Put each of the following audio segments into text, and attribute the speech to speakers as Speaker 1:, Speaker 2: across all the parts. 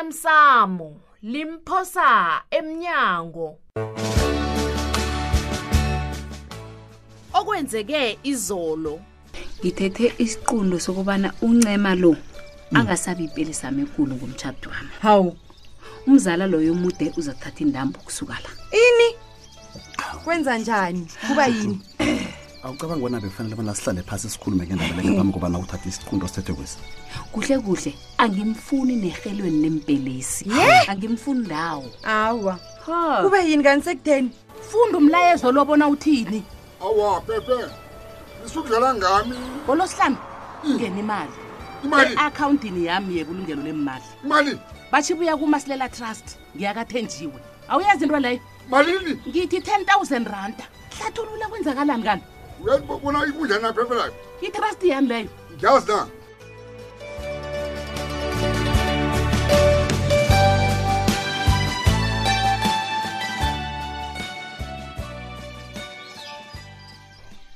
Speaker 1: osemsamo limphosa emnyango okwenzeke izolo
Speaker 2: ngithethe isiqundo sokubana uncema lo angasabi ipeli sami ekulu ngomtshado wami
Speaker 3: hawu
Speaker 2: umzala loyo mude uzathatha indambo ukusuka la
Speaker 3: ini kwenza njani kuba yini
Speaker 4: awucabanga bona bekufanele bona sihlale phasi sikhulume ngendabeleke phambi kobana uthathe isiqundo sithethokwesi
Speaker 2: kuhle kuhle angimfuni nerhelweni lempelesi angimfuni ndawo
Speaker 3: awa kuba yini kanti sekutheni
Speaker 5: funda umlayezo lo bona uthini
Speaker 6: awa pepe nisukudlala ngami
Speaker 5: ngolosihlanu ngena imali
Speaker 6: imali
Speaker 5: eakhawuntini yami yebulungelo lemali
Speaker 6: imali
Speaker 5: batsho ibuya kumasilela trust ngiyakathenjiwe awuyazi into leyo
Speaker 6: malini
Speaker 5: ngithi 10 000 randa hlathulula kwenzakalani kani
Speaker 6: uyabona ikunjani apepe layo
Speaker 5: i-trust yami leyo
Speaker 6: ngiyazi na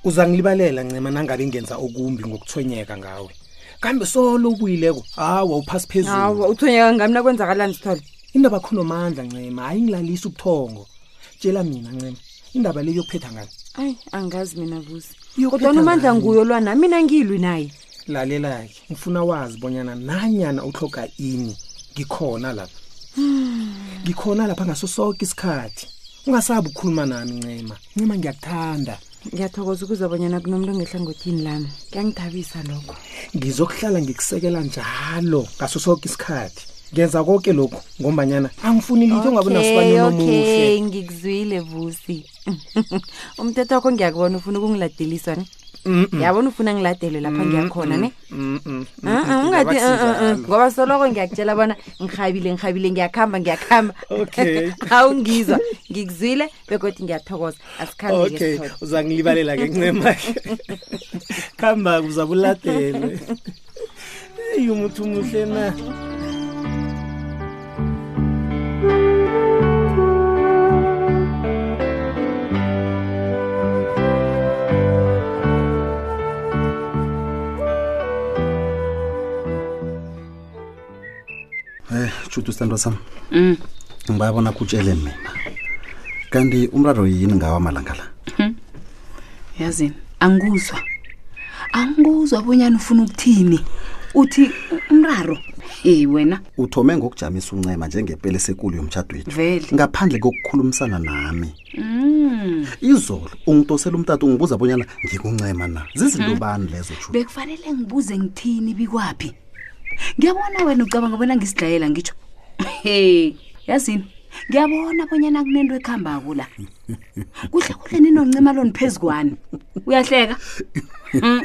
Speaker 7: uzangilibalela ncema nangabe ngenza okumbi ngokuthonyeka ngawe kambe solo ubuyileko hawa uphasi phezulu
Speaker 3: hawa uthonyeka ngami nakwenzakalani sithole
Speaker 7: indaba khunomandla ncema hayi ngilalisa ubuthongo tshela mina ncema indaba leyo yokuphetha ngani
Speaker 3: ayi angazi mina vusi
Speaker 7: Yokuphetha
Speaker 3: kodwana umandla
Speaker 7: ngani?
Speaker 3: nguyo lwana mina ngilwi naye
Speaker 7: lalela-ke ngifuna wazi bonyana nanyana uhloga ini ngikhona lapha
Speaker 3: Hmm.
Speaker 7: ngikhona lapha ngaso soke isikhathi ungasabi ukukhuluma nami ncema ncema ngiyakuthanda
Speaker 3: ngiyathokoza ukuzabonyana kunomuntu ongehlangothini lami kuyangithabisa lokho
Speaker 7: ngizokuhlala ngikusekela njalo ngaso soke isikhathi ngenza konke lokhu ngombanyana angifuni litho ungabe nasibanye nomuhle
Speaker 3: okay ngikuzwile vusi umthetho wakho ngiyakubona ufuna ukungiladeliswa ne yabona ufuna ngiladelwe lapha ngiyakhona ne Ah, ah, ungathi ah, ah, ah, ngoba soloko ngiyakutshela bona ngihabile ngihabile ngiyakuhamba ngiyakuhamba
Speaker 7: Okay.
Speaker 3: awungizwa ngikuzwile bekodwa ngiyathokoza asikhambe
Speaker 7: okay uzangilibalela ke ncema khamba kuzabuladele eyi umuntu muhle na
Speaker 4: um shuthi isithandwa sam ngibabona kutshele mina kanti umraro yini ngawa malanga la
Speaker 2: yazini angikuzwa angikuzwa bonyana ufuna ukuthini uthi umraro e wena
Speaker 4: uthome ngokujamisa uncema njengepele sekulu yomtshado wethu
Speaker 2: Vele.
Speaker 4: ngaphandle kokukhulumisana nami
Speaker 2: Mm.
Speaker 4: izolo ungidosela umtata ungibuza bonyana ngikuncema na zizinto bani lezo shuthi
Speaker 2: bekufanele ngibuze ngithini bikwaphi ngiyabona wena ucabanga bona ngisidlayela ngitsho he yazini ngiyabona bonyana kunento ekuhambako la kuhle kuhle ninoncima loni phezu kwani uyahleka Mm,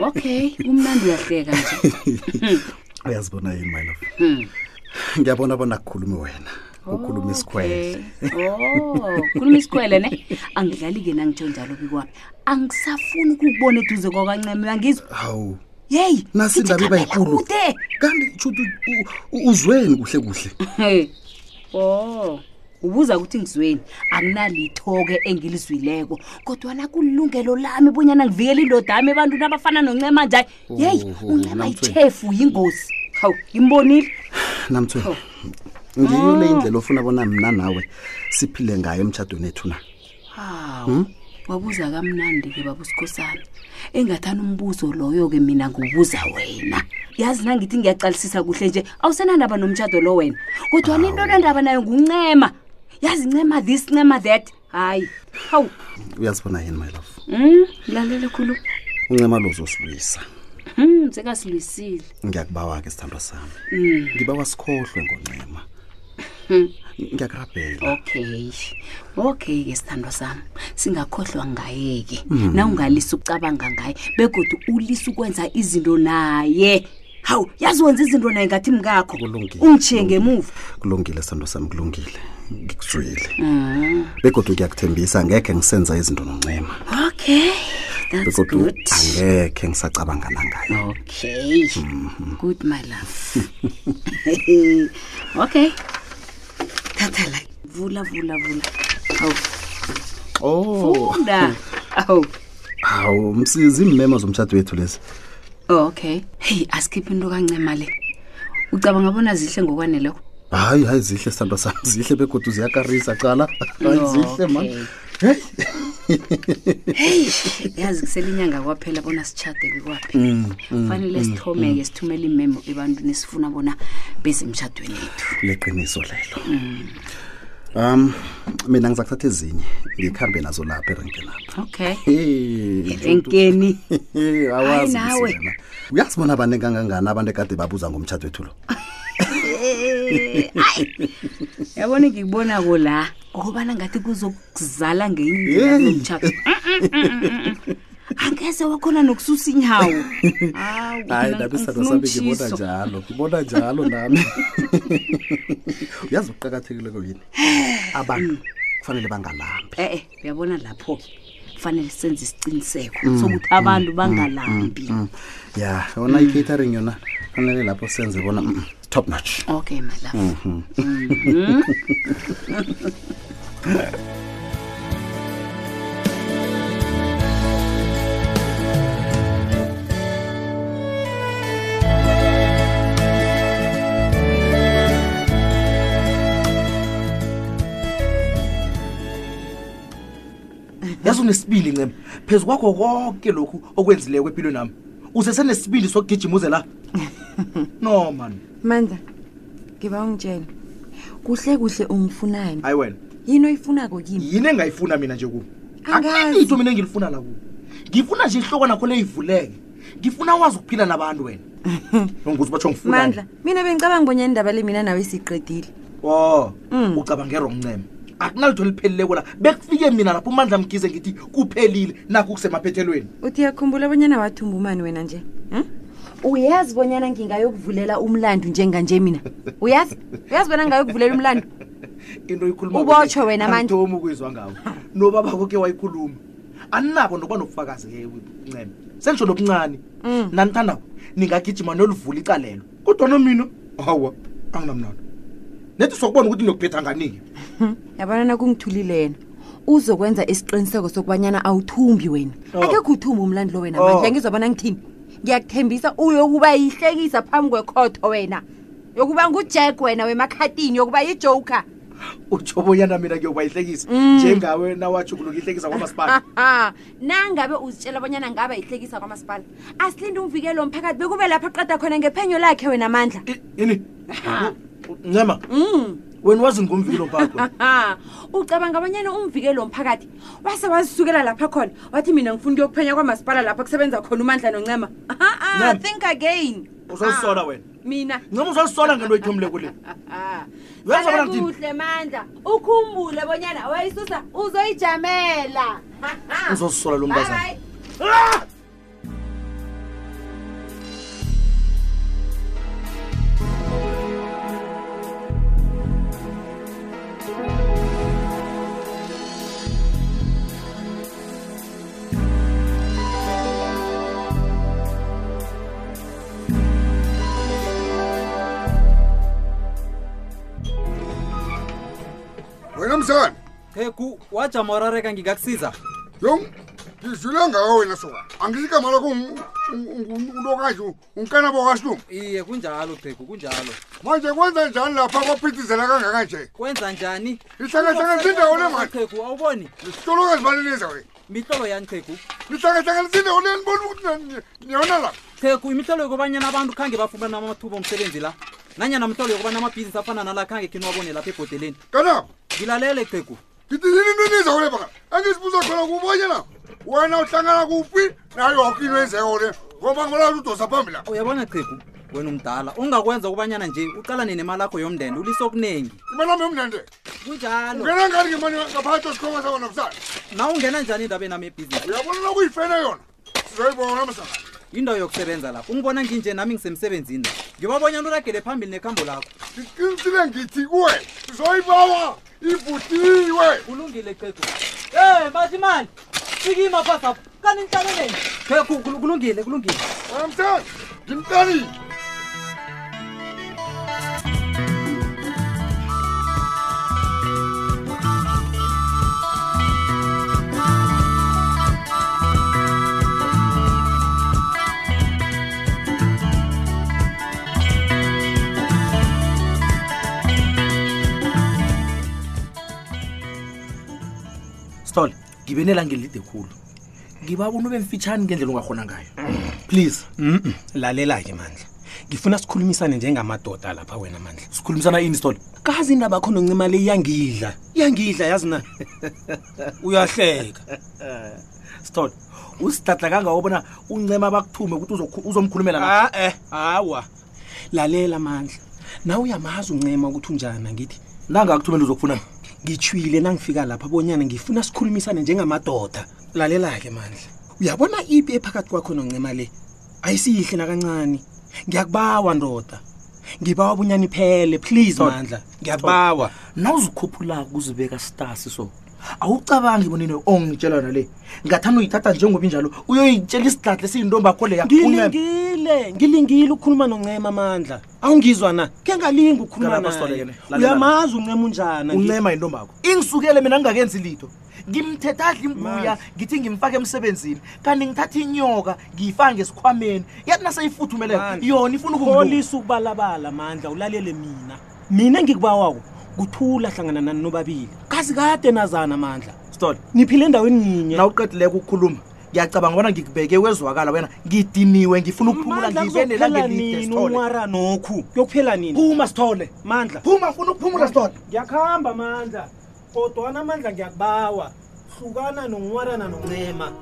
Speaker 2: okay umnandi uyahleka nje Hmm.
Speaker 4: uyazibona yini my love ngiyabona bona kukhulume wena ukhuluma isikhwele
Speaker 2: Okay. Oh, khuluma isikhwele ne angidlali-ke nangitsho njalo bikwami angisafuni ukukubona eduze kwakwancema uyangizwa
Speaker 4: hawu
Speaker 2: yeyi
Speaker 4: nasi indaba iba yikulu
Speaker 2: kude
Speaker 4: kanti shuthi uzweni kuhle kuhle
Speaker 2: Hey. Oh, ubuza ukuthi ngizweni. Akunalithoke engilizwileko. Kodwa na kulungelo lami bonyana ngivikele indodami ebantwini abafana noncema nje. Hey,
Speaker 4: Oh, oh,
Speaker 2: uncema
Speaker 4: namtswe.
Speaker 2: ithefu yingozi. Hawu, imbonile.
Speaker 4: namthweni ngiyo le indlela ofuna bona mna nawe siphile ngayo emtshadweni ethu na
Speaker 2: Hawu. Hmm? Wabuza kamnandi ke babusikhosana. Engathana umbuzo loyo ke mina ngubuza wena. Yazi nangithi ngiyaqalisisa kuhle nje awusenandaba nomtshado lo wena. Kodwa into endaba nayo nguncema. Yazi ncema this ncema that. Hayi. Hawu.
Speaker 4: uyazibona yini my love
Speaker 2: Mm, lalela khulu.
Speaker 4: uncema lo uzosibuyisa
Speaker 2: Mm, sekasilwisile.
Speaker 4: ngiyakubawa-ke sithandwa sami ngibawa sikhohlwe ngoncema ngiyakurabhela
Speaker 2: Okay. Okay ke sithandwa sami. Singakhohlwa ngaye ke. Na ungalisa ucabanga ngaye begodu ulisa ukwenza izinto naye. Hawu, yazi wenza izinto naye ngathi mkakho.
Speaker 4: Kulungile,
Speaker 2: Ungijiye
Speaker 4: kulungile.
Speaker 2: ngemuva.
Speaker 4: kulungile sithandwa sami kulungile ngikuzwile
Speaker 2: Mm.
Speaker 4: begodwa ngiyakuthembisa angekhe ngisenza izinto noncema
Speaker 2: Okay. That's
Speaker 4: begodwa
Speaker 2: good.
Speaker 4: angekhe ngisacabanga nangayo
Speaker 2: Okay. Good my love. okay. Thatha la. Vula vula vula. Hawu,
Speaker 4: oh
Speaker 2: funda. Hawu.
Speaker 4: hawu msizi imememo zomtshado wethu lezi
Speaker 2: Oh, okay. Hey, asikhiphe into kancema le. ucabanga bona zihle ngokwaneleko
Speaker 4: hayi hayi zihle sithandwa sami zihle begodu ziyakarisa cala hayi zihle man
Speaker 2: Okay.
Speaker 4: heyi
Speaker 2: heyi yazi kusele inyanga kwaphela bona sitshade bekwaphi
Speaker 4: Mm,
Speaker 2: kufanele sithomeke sithumele imemo ebantwini esifuna bona bezemtshadweni yethu
Speaker 4: liqiniso lelo um mina ngizakuthatha ezinye ngikhambe nazo lapha erenkenapha
Speaker 2: okay
Speaker 4: erenkeni
Speaker 2: enkeni Hayi,
Speaker 4: awazi
Speaker 2: nawe.
Speaker 4: Msina. uyazi bona abaningi kangangani abantu ekade babuza ngomtshato wethu lo
Speaker 2: yabona ngikubonako la ngokubana ngathi kuzokuzala ngenye
Speaker 4: Hey.
Speaker 2: indlela Mm, nomtshato mm, angeze wakhona nokususa inyawo
Speaker 4: hayi nami isithandwa sami ngibona njalo ngibona njalo nami uyazi ukuqakathekileko yini abantu kufanele bangalambi
Speaker 2: e-e Eh, uyabona lapho-ke kufanele senze isiqiniseko sokuthi abantu bangalambi
Speaker 4: mm, ya yona i-catering yona kufanele lapho senze bona mm, top notch
Speaker 2: okay my love
Speaker 8: yazi unesibili ncema phezu kwakho konke lokhu okwenzileko empilweni nami usesenesibili sokugijima uze la no mani
Speaker 3: mandla ngiba ungitshela kuhle kuhle ungifunani
Speaker 8: hayi wena
Speaker 3: yini oyifunako kimi
Speaker 8: yini engayifuna mina nje kubo
Speaker 3: Angazi.
Speaker 8: akanito mina engilifuna la kubo ngifuna nje ihloko nakho leyivuleke ngifuna wazi ukuphila nabantu wena nonguze batsho ngifunani
Speaker 3: mandla mina bengicabanga bonyana indaba le mina nawe siyiqedile
Speaker 8: o
Speaker 3: Mm.
Speaker 8: ucabangero ncema akunalitho liphelileko la bekufike mina lapho umandla mgize ngithi kuphelile nakho kusemaphethelweni
Speaker 3: uthi yakhumbula bonyana wathumba umani wena nje hm? uyazi bonyana ngingayokuvulela umlandu njenganje mina uyazi uyazi bona ngayokuvulela umlandu
Speaker 8: into oyikhuluma
Speaker 3: Ubotjhwe wena manje.
Speaker 8: antomi ukuyizwa ngawo nobabako ke wayikhuluma aninabo nokuba nobufakazi ke ncema sengisho eh, nobuncane
Speaker 3: Mm.
Speaker 8: nanithandabo ningagijima nolivula icalelo kodwa nomina hawa anginamnalo nethi sokubona ukuthi niyokuphetha ngani-ke
Speaker 3: yabona nakungithulile yena uzokwenza isiqiniseko sokubanyana awuthumbi wena
Speaker 8: Oh.
Speaker 3: akekho uthumbi umlandi lo wena
Speaker 8: Oh.
Speaker 3: manje angizobona ngithini ngiyakuthembisa uyokuba yihlekisa phambi kwekhotho wena yokuba ngujack wena wemakhatini yokuba yijoker
Speaker 8: utsho bonyana mina ngiyokuba yihlekisa
Speaker 3: Mm.
Speaker 8: njengawe nawajuguluka ihlekisa kwamasipala
Speaker 3: Ah, nangabe uzitshela bonyana ngaba yihlekisa kwamasipala asilinde umvikelo womphakathi bekube lapho aqeda khona ngephenyo lakhe wena mandla
Speaker 8: I- ini ncema wena wazi ngomvikelo mpakho
Speaker 3: ha Mm. ucabanga abanyana umvikeli womphakathi wase wazisukela lapha khona wathi mina ngifuna ukuyokuphenya kwamasipala lapho kusebenza khona umandla noncema
Speaker 8: Ncema.
Speaker 3: think again
Speaker 8: uzalisola
Speaker 3: Ah,
Speaker 8: wena
Speaker 3: mina
Speaker 8: ncema uzalisola ngento oyithomileko le
Speaker 3: Ah,
Speaker 8: Uyazi bona
Speaker 3: sala
Speaker 8: kuthini?
Speaker 3: kuhle mandla ukhumbule bonyana wayisusa uzoyijamela
Speaker 8: uzozisola lo mntazana
Speaker 3: Bye-bye.
Speaker 6: wena msana
Speaker 9: heku wajamarareka ngikakusiza
Speaker 6: yo ngizwile ngawo wena soka angisigama lakho untokazi unkanabo kasilungu
Speaker 9: iye kunjalo qhegu kunjalo
Speaker 6: manje kwenza njani lapha kwaphithizela kangakanje
Speaker 9: kwenza njani
Speaker 6: Lihlangahlanganisa indawo le, man.
Speaker 9: qhegu awuboni
Speaker 6: lisitolokazi baliniza wena
Speaker 9: mihlolo yani qhegu
Speaker 6: lihlangahlanganisa indawo le nibona ukuthi niyona lapha
Speaker 9: qhegu imihlolo yokubanyana abantu khange bafumana amathuba omsebenzi la nanyana mhlolo yokubana amabhizinisi afana nala khange khiniwabone lapha ebhodeleni
Speaker 6: kanabo
Speaker 9: ngilalele qhegu
Speaker 6: ngithi yini into eniza kule baka engisibuza khona kubonye la wena uhlangana kuphi nayo yoke into enzeko le ngoba ngibalazi udosa phambili lapha
Speaker 9: uyabona qhegu wena umdala ongakwenza ukubanyana nje uqalane nemalakho yomndende ulise okuningi
Speaker 6: imanami emnande
Speaker 9: kunjalo
Speaker 6: ungena ngani ngemani ngaphakathi esikhoma sabona kusana
Speaker 9: na ungena njani endabeni ami ebhizinisi
Speaker 6: uyabona lokuyifena yona sizoyibona msana
Speaker 9: indawo yokusebenza lapho ungibona nginje nami ngisemsebenzini ngibabonyana uragele phambili nekhambo lakho
Speaker 6: ngiqinisile ngithi kuwe sizoyibawa ivutiwe
Speaker 9: kulungile qheku e matimali sikima phasapha kaninhlaleleni qheku kul- Eh, kulungile kulungile
Speaker 6: wamthatha ngimtanile
Speaker 9: sithole ngibe nelanga elide khulu ngiba bona ube mfitshane ngendlela ongahona ngayo please
Speaker 7: Mm-mm. lalela-ke mandla ngifuna sikhulumisane njengamadoda lapha wena mandla
Speaker 9: sikhulumisana ini sithole
Speaker 7: kazi indaba khona ncima le iyangidla iyangidla yazi na uyahleka
Speaker 9: sithole usidadla kangawo bona uncema bakuthume ukuthi uzokhu- uzomkhulumela na
Speaker 7: a-e hawa lalela mandla nawe uyamazi uncema ukuthi unjani angithi
Speaker 9: nangakuthumela uzokufunana
Speaker 7: ngitshwile nangifika lapha bonyana ngifuna sikhulumisane njengamadoda lalela-ke mandla uyabona ipi ephakathi kwakhona ncema le ayisiyihle nakancane ngiyakubawa ndoda ngibawa bunyana iphele please
Speaker 9: Thol-
Speaker 7: mandla ngiyakubawa
Speaker 9: nawuzikhuphulako uzibeka stasi so awucabangi bonini ongitshela nale ngathanda uyithatha njengoba injalo uyoyitshela isidlatle siyintombakho leya
Speaker 7: ngilingile ngilingile ukukhuluma noncema amandla awungizwa na ke ngalingi ukukhuluma
Speaker 9: Kalapha sibalekele.
Speaker 7: naye
Speaker 9: Lalela.
Speaker 7: uyamazi uncema unjani angithi?
Speaker 9: uncema yintombakho ingisukele mina ngingakenzi lito ngimthethadla imbuya ngithi ngimfake emsebenzini kanti ngithatha inyoka ngiyifake ngesikhwameni yathi naseyifuthumeleko
Speaker 7: Mandla.
Speaker 9: yona ifuna ukungiluka.
Speaker 7: pholisa ukubalabala mandla ulalele mina mina engikubawako kuthula hlangana nani nobabili kazi kade nazana mandla
Speaker 9: Stole,
Speaker 7: niphile endaweni yinye
Speaker 9: na uqedileko ukukhuluma ngiyacabanga bona ngikubeke wezwakala wena ngidiniwe ngifuna ukuphumula
Speaker 7: Mandla,
Speaker 9: ngibe
Speaker 7: kuzokuphela
Speaker 9: nelangelide
Speaker 7: nini
Speaker 9: sithole
Speaker 7: unwara nokhu kuyokuphela nini
Speaker 9: phuma sithole
Speaker 7: mandla
Speaker 9: phuma ngifuna ukuphumula sithole
Speaker 7: ngiyakuhamba mandla kodwana mandla ngiyakubawa hlukana nonwarana noncema